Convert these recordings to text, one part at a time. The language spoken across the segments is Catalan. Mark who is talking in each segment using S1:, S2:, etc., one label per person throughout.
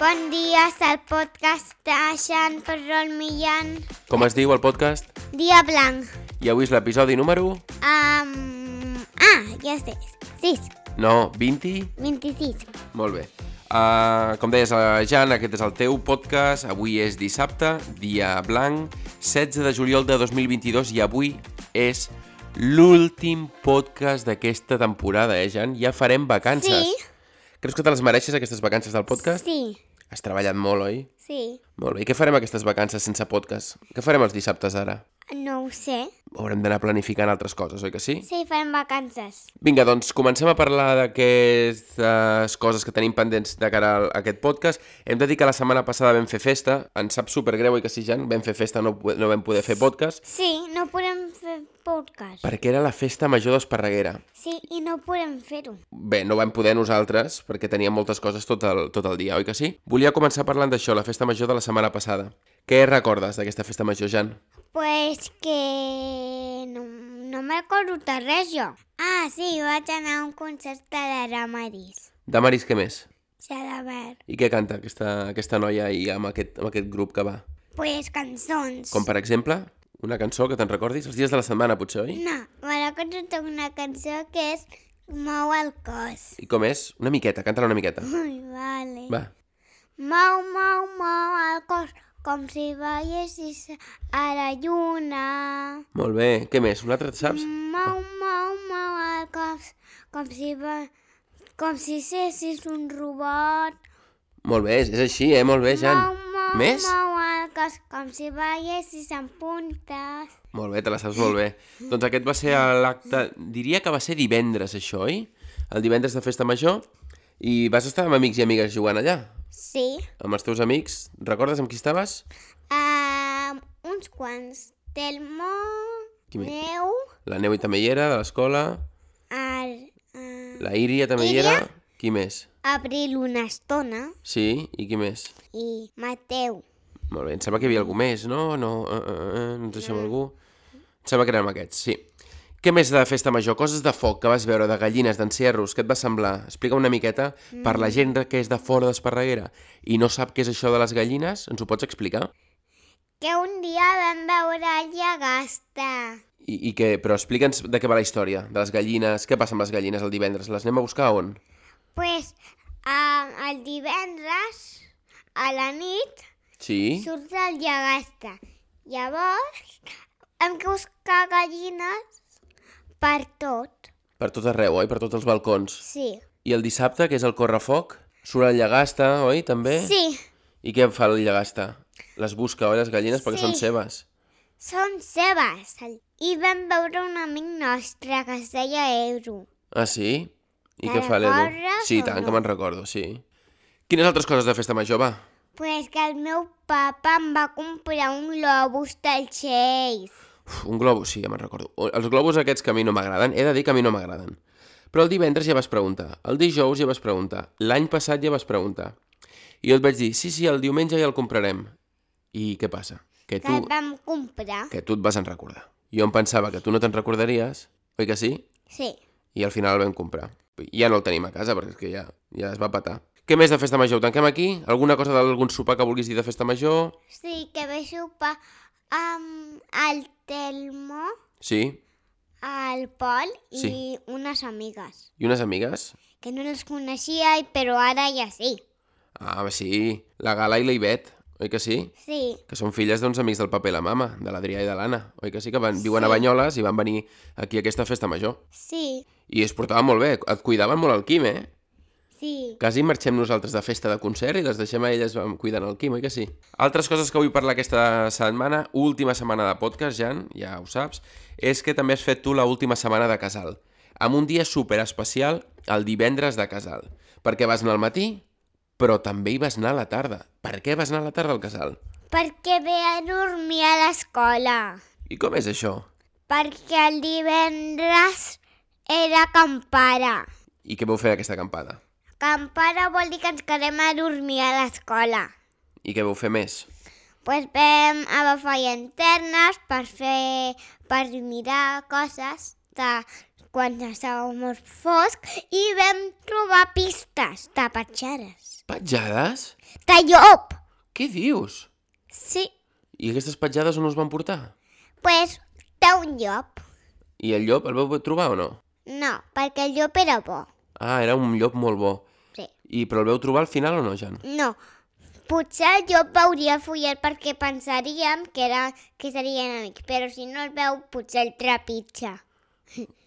S1: Bon dia, és el podcast de Xan Ferrol Millan.
S2: Com es diu el podcast?
S1: Dia blanc.
S2: I avui és l'episodi número...
S1: Um... Ah, ja sé. 6,
S2: No, 20?
S1: 26.
S2: Molt bé. Uh, com deies, eh, Jan, aquest és el teu podcast. Avui és dissabte, dia blanc, 16 de juliol de 2022 i avui és l'últim podcast d'aquesta temporada, eh, Jan? Ja farem vacances.
S1: Sí.
S2: Creus que te les mereixes, aquestes vacances del podcast?
S1: Sí,
S2: Has treballat molt, oi?
S1: sí.
S2: Molt bé. I què farem aquestes vacances sense podcast? Què farem els dissabtes ara?
S1: No ho sé.
S2: Haurem d'anar planificant altres coses, oi que sí?
S1: Sí, farem vacances.
S2: Vinga, doncs comencem a parlar d'aquestes coses que tenim pendents de cara a aquest podcast. Hem de dir que la setmana passada vam fer festa. Ens sap supergreu, oi que sí, Jan? Vam fer festa, no, pu- no vam poder fer podcast.
S1: Sí, no podem fer podcast.
S2: Perquè era la festa major d'Esparreguera.
S1: Sí, i no podem fer-ho.
S2: Bé, no vam poder nosaltres, perquè teníem moltes coses tot el, tot el dia, oi que sí? Volia començar parlant d'això, la festa major de la setmana passada. Què recordes d'aquesta festa major, Jan?
S1: Pues que... No, no me'n recordo de res, jo. Ah, sí, vaig anar a un concert de la Ramaris.
S2: De Maris, què més?
S1: Jalabert.
S2: I què canta aquesta, aquesta noia i amb aquest, amb aquest grup que va?
S1: Pues cançons.
S2: Com, per exemple, una cançó que te'n recordis? Els dies de la setmana, potser, oi?
S1: No, me recordo de una cançó que és Mou el cos.
S2: I com és? Una miqueta, canta una miqueta.
S1: Ui, vale.
S2: Va.
S1: Mou, mou, mou el cos com si veiessis a la lluna.
S2: Molt bé. Què més? Un altre, saps?
S1: Mou, mou, mou el cos com si, ve... com si sessis un robot.
S2: Molt bé, és, és així, eh? Molt bé, Jan.
S1: Mou, mou,
S2: Més?
S1: mou el cos com si veiessis en puntes.
S2: Molt bé, te la saps molt bé. Doncs aquest va ser l'acte... Diria que va ser divendres, això, oi? El divendres de Festa Major. I vas estar amb amics i amigues jugant allà?
S1: Sí.
S2: Amb els teus amics? Recordes amb qui estaves?
S1: Um, uns quants. Telmo,
S2: Qui més?
S1: Neu,
S2: La Neu i també hi era, de l'escola.
S1: ar, uh,
S2: La Íria també hi era. Qui més?
S1: Abril una estona
S2: Sí, i qui més?
S1: i Mateu.
S2: Molt bé, em sembla que hi havia algú més, no? No, uh, uh, uh, no ens deixem
S1: Eh.
S2: algú? Em sembla que érem aquests, sí. Què més de festa major? Coses de foc que vas veure, de gallines, d'encerros, què et va semblar? Explica una miqueta per
S1: Mm.
S2: la gent que és de fora d'Esparreguera i no sap què és això de les gallines, ens ho pots explicar?
S1: Que un dia vam veure el Llagasta.
S2: I, i què? Però explica'ns de què va la història, de les gallines, què passa amb les gallines el divendres? Les anem a buscar on?
S1: Pues um, el divendres a la nit
S2: Sí?
S1: surt el Llagasta. Llavors hem de buscar gallines per tot.
S2: Per tot arreu, oi? Per tots els balcons.
S1: Sí.
S2: I el dissabte, que és el correfoc, surt el llagasta, oi? També?
S1: Sí,
S2: I què fa el llagasta? Les busca, oi, les gallines, perquè
S1: Sí.
S2: són seves.
S1: són seves. I vam veure un amic nostre que es deia Euro.
S2: Ah, sí? I
S1: Te'n
S2: què fa l'Edu?
S1: recordes
S2: Sí,
S1: o
S2: tant,
S1: no?
S2: que me'n recordo, sí. Quines altres coses de festa major, va?
S1: Pues que el meu papa em va comprar un globus del Chase.
S2: Uf, un globus, sí, ja me'n recordo. O- Els globus aquests que a mi no m'agraden, he de dir que a mi no m'agraden. Però el divendres ja vas preguntar, el dijous ja vas preguntar, l'any passat ja vas preguntar. I jo et vaig dir, sí, sí, el diumenge ja el comprarem. I què passa? Que
S1: Que el
S2: tu,
S1: vam comprar.
S2: que tu et vas en recordar. Jo em pensava que tu no te'n recordaries, oi que sí?
S1: Sí.
S2: I al final el vam comprar. Ja no el tenim a casa, perquè és que ja, ja es va patar. Què més de festa major? Ho tanquem aquí? Alguna cosa d'algun sopar que vulguis dir de festa major?
S1: Sí, que ve sopar amb el Telmo,
S2: Sí.
S1: el Pol i
S2: Sí.
S1: unes amigues.
S2: I unes amigues?
S1: Que no les coneixia, i- però ara ja sí.
S2: Ah, sí. La Gala i la Ivet, oi que sí?
S1: Sí,
S2: Que són filles d'uns amics del paper i la mama, de l'Adrià i de l'Anna, oi que sí? Que van, viuen a Banyoles i van venir aquí a aquesta festa major.
S1: sí,
S2: I es portaven molt bé, et cuidaven molt el Quim, eh?
S1: sí.
S2: Quasi marxem nosaltres de festa de concert i les deixem a elles amb- cuidant el Quim, oi que sí? Altres coses que vull parlar aquesta setmana, última setmana de podcast, Jan, ja ho saps, és que també has fet tu la última setmana de Casal, amb un dia super especial, el divendres de Casal, perquè vas anar al matí, però també hi vas anar a la tarda. Per què vas anar a la tarda al Casal?
S1: Perquè ve a dormir a l'escola.
S2: I com és això?
S1: Perquè el divendres era campara.
S2: I què vau fer aquesta acampada?
S1: Campara vol dir que ens quedem a dormir a l'escola.
S2: I què vau fer més?
S1: Pues vam agafar llanternes per fer, per mirar coses de quan estava molt fosc i vam trobar pistes de petjades.
S2: Petjades?
S1: De llop!
S2: Què dius?
S1: Sí,
S2: I aquestes petjades on us van portar?
S1: pues d'un llop.
S2: I el llop el vau trobar o no?
S1: No, perquè el llop era bo.
S2: Ah, era un llop molt bo.
S1: Sí.
S2: I, però el veu trobar al final o no, Jan?
S1: No, potser el llop veuria el fullet perquè pensaríem que, era, que serien amics, però si no el veu potser el trepitja.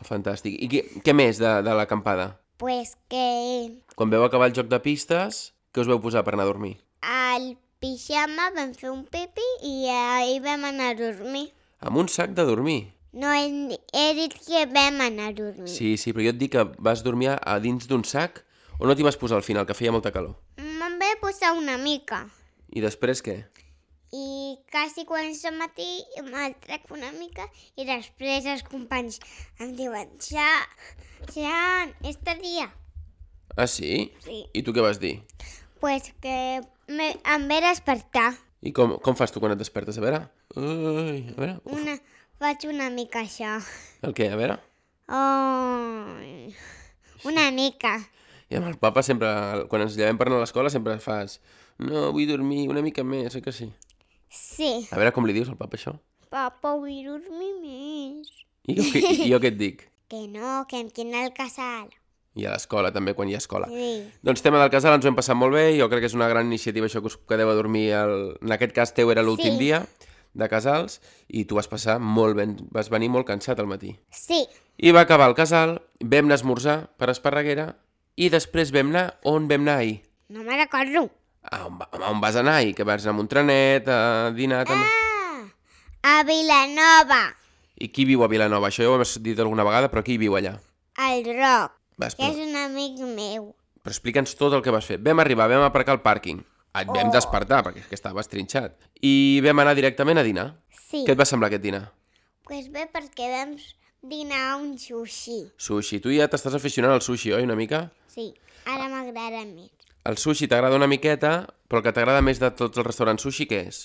S2: Fantàstic. I què, què més de, de l'acampada?
S1: Pues que
S2: Quan veu acabar el joc de pistes, què us veu posar per anar a dormir?
S1: al pijama vam fer un pipi i ahir vam anar a dormir.
S2: Amb un sac de dormir.
S1: No, he, he dit que vam anar a dormir.
S2: Sí, sí, però jo et dic que vas dormir a dins d'un sac o no t'hi vas posar al final, que feia molta calor.
S1: Me'n vaig posar una mica.
S2: I després què?
S1: I quasi quan és el matí me'l trec una mica i després els companys em diuen ja, ja, este dia.
S2: Ah, sí?
S1: Sí,
S2: I tu què vas dir?
S1: pues que me, em ve despertar.
S2: I com, com fas tu quan et despertes? A veure... Ui, a veure... Uf.
S1: Una, faig una mica això.
S2: El què? A veure...
S1: Oh, una mica.
S2: I amb el papa sempre, quan ens llevem per anar a l'escola, sempre fas... No, vull dormir una mica més, oi que sí?
S1: Sí,
S2: A veure com li dius al papa això.
S1: papa, vull dormir més.
S2: I jo, què- i jo què et dic?
S1: Que no, que em quina al casal.
S2: I a l'escola, també, quan hi ha escola.
S1: Sí.
S2: Doncs tema del casal, ens ho hem passat molt bé, jo crec que és una gran iniciativa això que us quedeu a dormir, el... en aquest cas teu era l'últim
S1: Sí.
S2: dia de casals, i tu vas passar molt ben, vas venir molt cansat al matí.
S1: Sí,
S2: I va acabar el casal, vam anar a esmorzar per Esparreguera, i després vam anar, on vam anar ahir?
S1: no me recordo.
S2: Ah, on, va, home, on vas anar ahir? Que vas anar amb un trenet, a dinar també...
S1: Ah, a Vilanova,
S2: I qui viu a Vilanova? Això ja ho hem dit alguna vegada, però qui viu allà?
S1: al Roc,
S2: Vas,
S1: que
S2: però,
S1: és un amic meu.
S2: però explica'ns tot el que vas fer. Vam arribar, vam aparcar al pàrquing. Et
S1: Oh.
S2: vam despertar, perquè és que estaves trinxat. I vam anar directament a dinar.
S1: Sí,
S2: Què et va semblar aquest dinar?
S1: pues bé, perquè vam dinar un sushi.
S2: Sushi. Tu ja t'estàs aficionant al sushi, oi, una mica?
S1: Sí, ara m'agrada més.
S2: El sushi t'agrada una miqueta, però el que t'agrada més de tots els restaurants sushi, què és?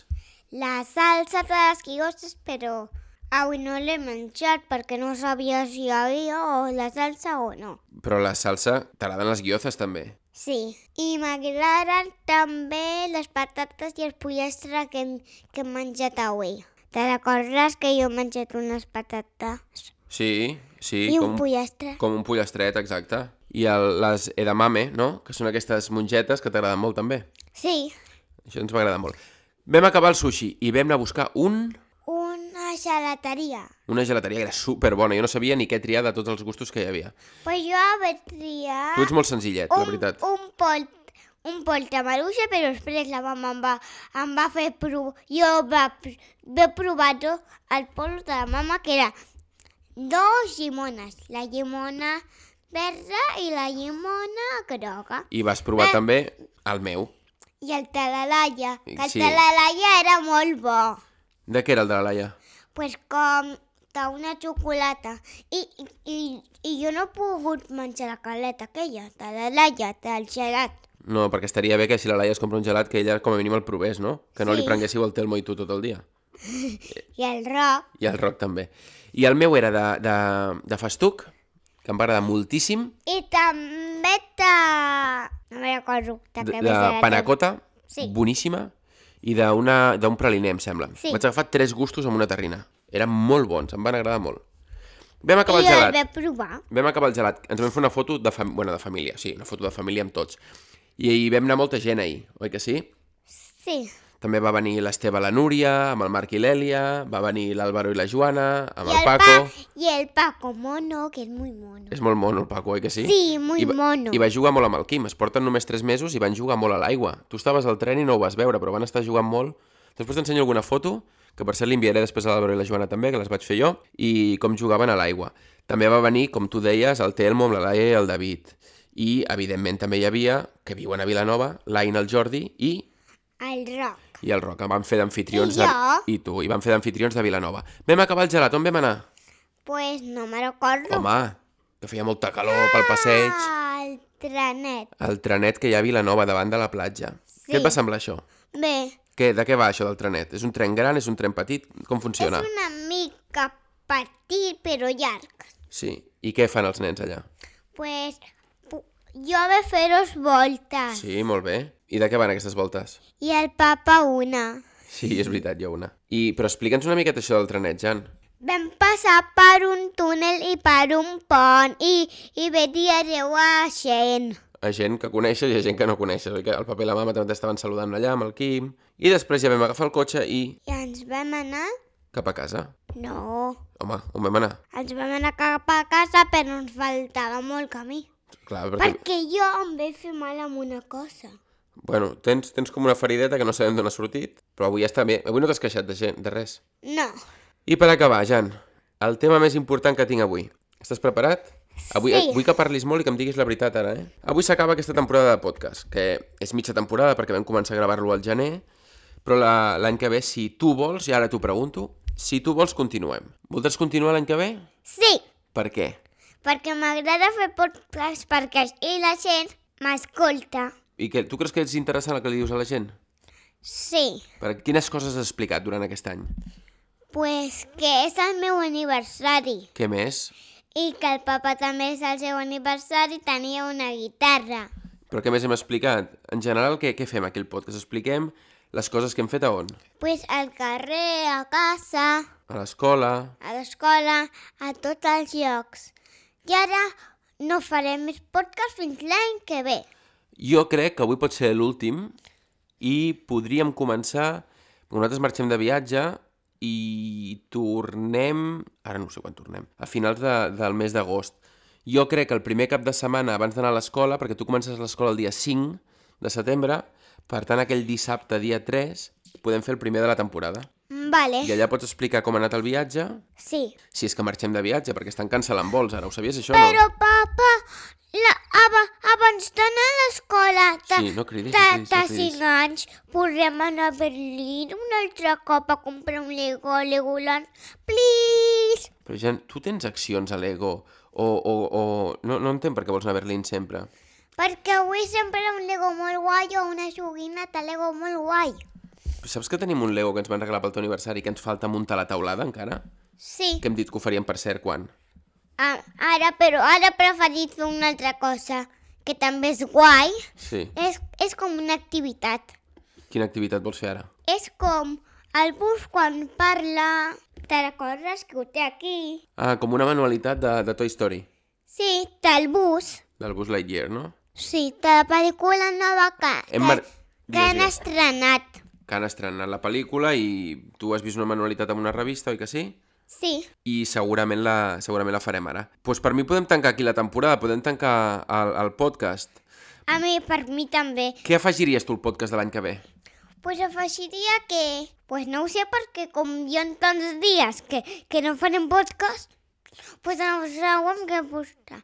S1: La salsa de les quigostes, però avui no l'he menjat perquè no sabia si hi havia o la salsa o no.
S2: Però la salsa, t'agraden les guiozes també.
S1: Sí, i m'agraden també les patates i els pollastres que hem, que hem menjat avui. Te recordes que jo he menjat unes patates
S2: Sí, sí,
S1: i un
S2: com,
S1: pollastre?
S2: com un pollastre, exacte. I el, les edamame, no? Que són aquestes mongetes que t'agraden molt també.
S1: Sí,
S2: Això ens va agradar molt. Vam acabar el sushi i vam anar a buscar un...
S1: una gelateria.
S2: Una gelateria que era superbona. Jo no sabia ni què triar de tots els gustos que hi havia.
S1: Pues jo vaig triar
S2: Tu ets molt senzillet, la
S1: un,
S2: veritat.
S1: un pol un pol de maruixa, però després la mama em va, em va fer provar... Jo va, pr- vaig provar jo el pol de la mama, que era dos llimones. La llimona verda i la llimona groga.
S2: I vas provar també el meu.
S1: I el talalaia, que el
S2: Sí.
S1: talalaia era molt bo.
S2: De què era el de la Laia?
S1: pues com d'una xocolata. I, i, I jo no he pogut menjar la caleta aquella, de la laia, del gelat.
S2: No, perquè estaria bé que si la Laia es compra un gelat que ella com a mínim el provés, no? Que no
S1: Sí.
S2: li prenguéssiu el Telmo i tu tot el dia.
S1: I el roc,
S2: I el Roc també. I el meu era de, de, de festuc, que em va agradar moltíssim,
S1: i també de... No me'n recordo. De,
S2: de,
S1: què
S2: de
S1: més era aquell.
S2: panacota,
S1: Sí.
S2: boníssima, i d'una- d'un praliner, em sembla.
S1: Sí.
S2: Vaig agafar tres gustos amb una terrina. Eren molt bons, em van agradar molt. Vam acabar
S1: I
S2: el
S1: jo
S2: gelat.
S1: el vaig provar.
S2: Vam acabar el gelat. Ens vam fer una foto de, fam... bueno, de família, sí, una foto de família amb tots. I hi vam anar molta gent ahir, oi que sí?
S1: Sí,
S2: També va venir l'Esteve, la Núria, amb el Marc i l'Èlia, va venir l'Àlvaro i la Joana, amb
S1: I
S2: el,
S1: el
S2: Paco.
S1: i el Paco mono, que és molt mono.
S2: És molt mono el Paco, oi que sí?
S1: Sí, molt
S2: I va,
S1: mono.
S2: I va jugar molt amb el Quim. Es porten només 3 mesos i van jugar molt a l'aigua. Tu estaves al tren i no ho vas veure, però van estar jugant molt. Després t'ensenyo alguna foto, que per cert li enviaré després a l'Àlvaro i la Joana també, que les vaig fer jo, i com jugaven a l'aigua. També va venir, com tu deies, el Telmo amb la Laia i el David. I, evidentment, també hi havia, que viuen a Vilanova, l'Aina, el Jordi i,
S1: El roc.
S2: i el Roc. Van fer d'anfitrions...
S1: I jo.
S2: De... I tu, i van fer d'anfitrions de Vilanova. Vam acabar el gelat, on vam anar?
S1: Pues no me'n recordo.
S2: Home, que feia molta calor pel passeig.
S1: Ah, el trenet.
S2: El trenet que hi ha a Vilanova, davant de la platja.
S1: Sí.
S2: Què et va semblar això?
S1: Bé,
S2: Què, de què va això del trenet? És un tren gran, és un tren petit? Com funciona?
S1: És una mica petit però llarg.
S2: Sí. I què fan els nens allà?
S1: Pues pu- jo de fer-os voltes.
S2: Sí, molt bé. I de què van aquestes voltes?
S1: I el papa una.
S2: Sí, és veritat, jo una. I, però explica'ns una miqueta això del trenet, Jan.
S1: Vam passar per un túnel i per un pont i, i venia Déu a gent.
S2: A gent que coneixes i a gent que no coneixes. Oi que el paper i la mama també t'estaven saludant allà amb el Quim. I després ja vam agafar el cotxe i...
S1: I ens vam anar?
S2: cap a casa.
S1: No,
S2: Home, on vam anar?
S1: ens vam anar cap a casa però ens faltava molt camí.
S2: Clar, perquè...
S1: Perquè jo em vaig fer mal amb una cosa.
S2: Bueno, tens, tens com una ferideta que no sabem d'on ha sortit, però avui ja està bé. Avui no t'has queixat de gent, de res.
S1: No.
S2: I per acabar, Jan, el tema més important que tinc avui. Estàs preparat? Avui,
S1: Sí.
S2: Vull que parlis molt i que em diguis la veritat ara, eh? Avui s'acaba aquesta temporada de podcast, que és mitja temporada perquè vam començar a gravar-lo al gener, però la- l'any que ve, si tu vols, i ara t'ho pregunto, si tu vols, continuem. Voldràs continuar l'any que ve?
S1: Sí,
S2: Per què?
S1: perquè m'agrada fer podcast perquè així la gent m'escolta.
S2: I que, tu creus que és interessant el que li dius a la gent?
S1: Sí,
S2: Per quines coses has explicat durant aquest any?
S1: pues que és el meu aniversari
S2: Què més?
S1: i que el papa també és el seu aniversari tenia una guitarra.
S2: Però què més hem explicat? En general, què, què fem aquí al podcast? Expliquem les coses que hem fet a on?
S1: Pues al carrer, a casa,
S2: A l'escola,
S1: a l'escola, a tots els llocs. I ara no farem més podcast fins l'any que ve.
S2: Jo crec que avui pot ser l'últim i podríem començar... Nosaltres marxem de viatge i tornem... Ara no sé quan tornem. A finals de, del mes d'agost. Jo crec que el primer cap de setmana abans d'anar a l'escola, perquè tu comences l'escola el dia 5 de setembre, per tant aquell dissabte, dia 3, podem fer el primer de la temporada.
S1: Vale,
S2: I allà pots explicar com ha anat el viatge,
S1: sí.
S2: si és que marxem de viatge, perquè estan cancel·lant vols, ara ho sabies això?
S1: Però, papa, la, aba, abans d'anar a l'escola de,
S2: Sí, no cridis,
S1: de,
S2: no cridis,
S1: de
S2: no cridis.
S1: 5 anys podrem anar a Berlín un altre cop a comprar un Lego a Legoland. Please!
S2: Però ja, tu tens accions a l'ego o, o, o... No, no entenc per què vols anar a Berlín sempre.
S1: Perquè avui sempre un Lego molt guai o una joguina de Lego molt guai.
S2: Però saps que tenim un Lego que ens van regalar pel teu aniversari que ens falta muntar la taulada encara?
S1: Sí,
S2: Que hem dit que ho faríem per cert quan?
S1: ah, ara, però ara he preferit fer una altra cosa que també és guai.
S2: Sí.
S1: És, és com una activitat.
S2: Quina activitat vols fer ara?
S1: És com el bus quan parla. Te recordes que ho té aquí?
S2: Ah, com una manualitat de, de Toy Story,
S1: Sí, del bus.
S2: del Buzz Lightyear, no?
S1: Sí, de la pel·lícula nova que,
S2: Hem mar-
S1: que, que
S2: Digues,
S1: han
S2: digues.
S1: estrenat.
S2: Que han estrenat la pel·lícula i tu has vist una manualitat en una revista, oi que sí?
S1: Sí,
S2: i segurament la, segurament la farem ara. Doncs pues per mi podem tancar aquí la temporada, podem tancar el, el podcast.
S1: a mi, per mi també.
S2: Què afegiries tu al podcast de l'any que ve?
S1: Pues afegiria que... Pues no ho sé perquè com hi ha tants dies que, que no farem podcast, pues ens haurem que posar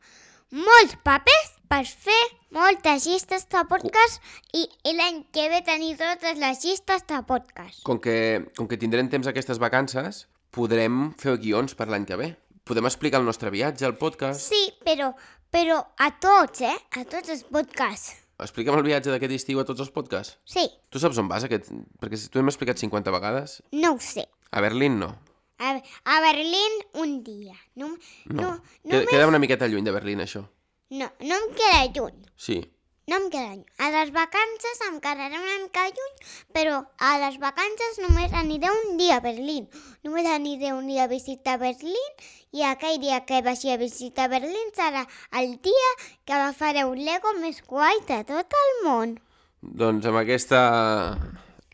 S1: molts papers per fer moltes llistes de podcast i, i l'any que ve tenir totes les llistes de podcast.
S2: Com que, com que tindrem temps aquestes vacances, podrem fer guions per l'any que ve. Podem explicar el nostre viatge al podcast.
S1: Sí, però, però a tots, eh? A tots els podcasts.
S2: Explica'm el viatge d'aquest estiu a tots els podcasts.
S1: Sí,
S2: Tu saps on vas? Aquest... Perquè si tu hem explicat 50 vegades.
S1: no ho sé.
S2: A Berlín no.
S1: A, a Berlín un dia. No, no, no,
S2: No.
S1: no,
S2: Queda, queda una miqueta lluny de Berlín, això.
S1: no, no em queda lluny.
S2: Sí.
S1: No em queda lluny. A les vacances em quedaré una mica lluny, però a les vacances només aniré un dia a Berlín. Només aniré un dia a visitar Berlín i aquell dia que vagi a visitar Berlín serà el dia que agafaré un Lego més guai de tot el món.
S2: Doncs amb aquesta...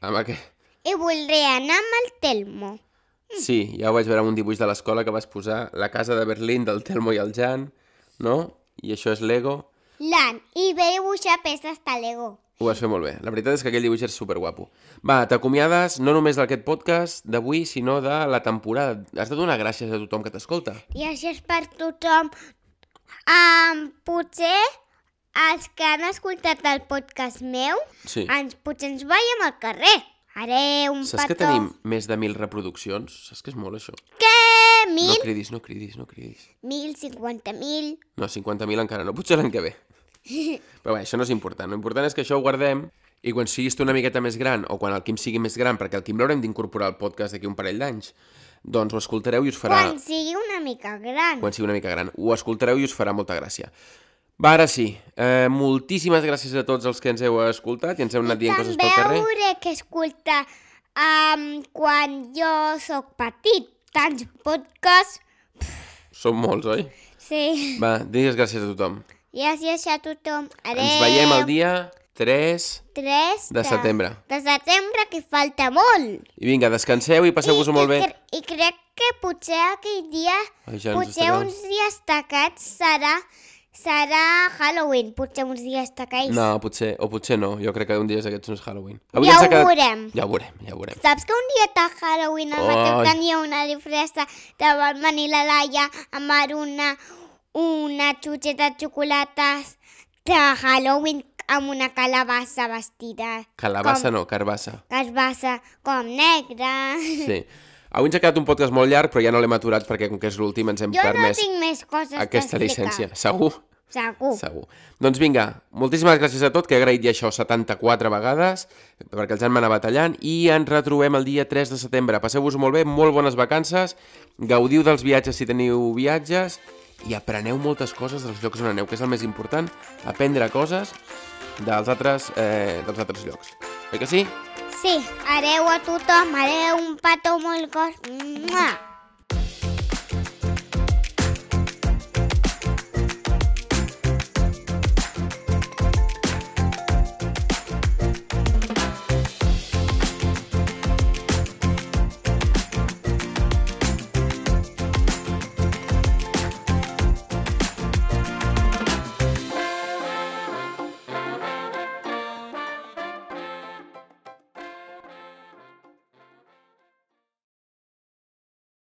S2: Amb aquest...
S1: I voldré anar amb el Telmo.
S2: Sí, ja ho vaig veure en un dibuix de l'escola que vas posar. La casa de Berlín del Telmo i el Jan, no? I això és Lego.
S1: L'an, i ve a dibuixar peces de Lego.
S2: Ho vas fer molt bé. La veritat és que aquell dibuix és superguapo. Va, t'acomiades no només d'aquest podcast d'avui, sinó de la temporada. Has de donar gràcies a tothom que t'escolta.
S1: Gràcies per tothom. Um, potser els que han escoltat el podcast meu,
S2: Sí.
S1: ens, potser ens veiem al carrer. Haré un
S2: Saps
S1: petó.
S2: que tenim més de mil reproduccions? Saps que és molt, això?
S1: Què? Mil?
S2: No cridis, no cridis, no cridis.
S1: Mil, cinquanta mil.
S2: No, 50.000 encara no, potser l'any que ve. Però bé, això no és important. L'important és que això ho guardem i quan siguis tu una miqueta més gran o quan el Quim sigui més gran, perquè el Quim l'haurem d'incorporar al podcast d'aquí un parell d'anys, Doncs ho escoltareu i us farà...
S1: Quan sigui una mica gran.
S2: quan sigui una mica gran. Ho escoltareu i us farà molta gràcia. Va, ara sí. Eh, moltíssimes gràcies a tots els que ens heu escoltat i ens heu anat dient coses pel carrer.
S1: veure que escolta um, quan jo sóc petit. Tants podcasts.
S2: Són molts, oi?
S1: Sí.
S2: Va, digues gràcies a tothom.
S1: Gràcies a tothom. Adéu.
S2: Ens veiem el dia 3
S1: 3
S2: de setembre.
S1: De setembre, que falta molt.
S2: I vinga, descanseu i passeu-vos-ho molt bé.
S1: I, cre- I crec que potser aquell dia,
S2: Ai, ja ens
S1: potser
S2: estarà-
S1: uns dies tacats serà, serà Halloween, potser uns dies tacats.
S2: No, potser, o potser no. Jo crec que un dia d'aquests no és Halloween.
S1: Ja
S2: ens ha
S1: ho veurem.
S2: Ja ho veurem, ja ho veurem.
S1: Saps que un dia de Halloween em vaig
S2: Ai.
S1: tenir una disfressa de venir la Laia amb ara una, una xutxeta de xocolates de Halloween amb una calabassa vestida.
S2: Calabassa no, carbassa.
S1: Calabassa com negra.
S2: Sí. Avui ens ha quedat un podcast molt llarg, però ja no l'hem aturat perquè com que és l'últim ens hem
S1: Jo no
S2: permès
S1: tinc més coses
S2: aquesta
S1: a explicar.
S2: llicència. Segur?
S1: Segur.
S2: Segur. Doncs vinga, moltíssimes gràcies a tot, que he agraït ja això 74 vegades, perquè els han anat batallant, i ens retrobem el dia 3 de setembre. Passeu-vos molt bé, molt bones vacances, gaudiu dels viatges si teniu viatges, i apreneu moltes coses dels llocs on aneu, que és el més important, aprendre coses dels altres, eh, dels altres llocs. Oi que sí?
S1: Sí, adeu a tothom, adeu un petó molt gros. Mua!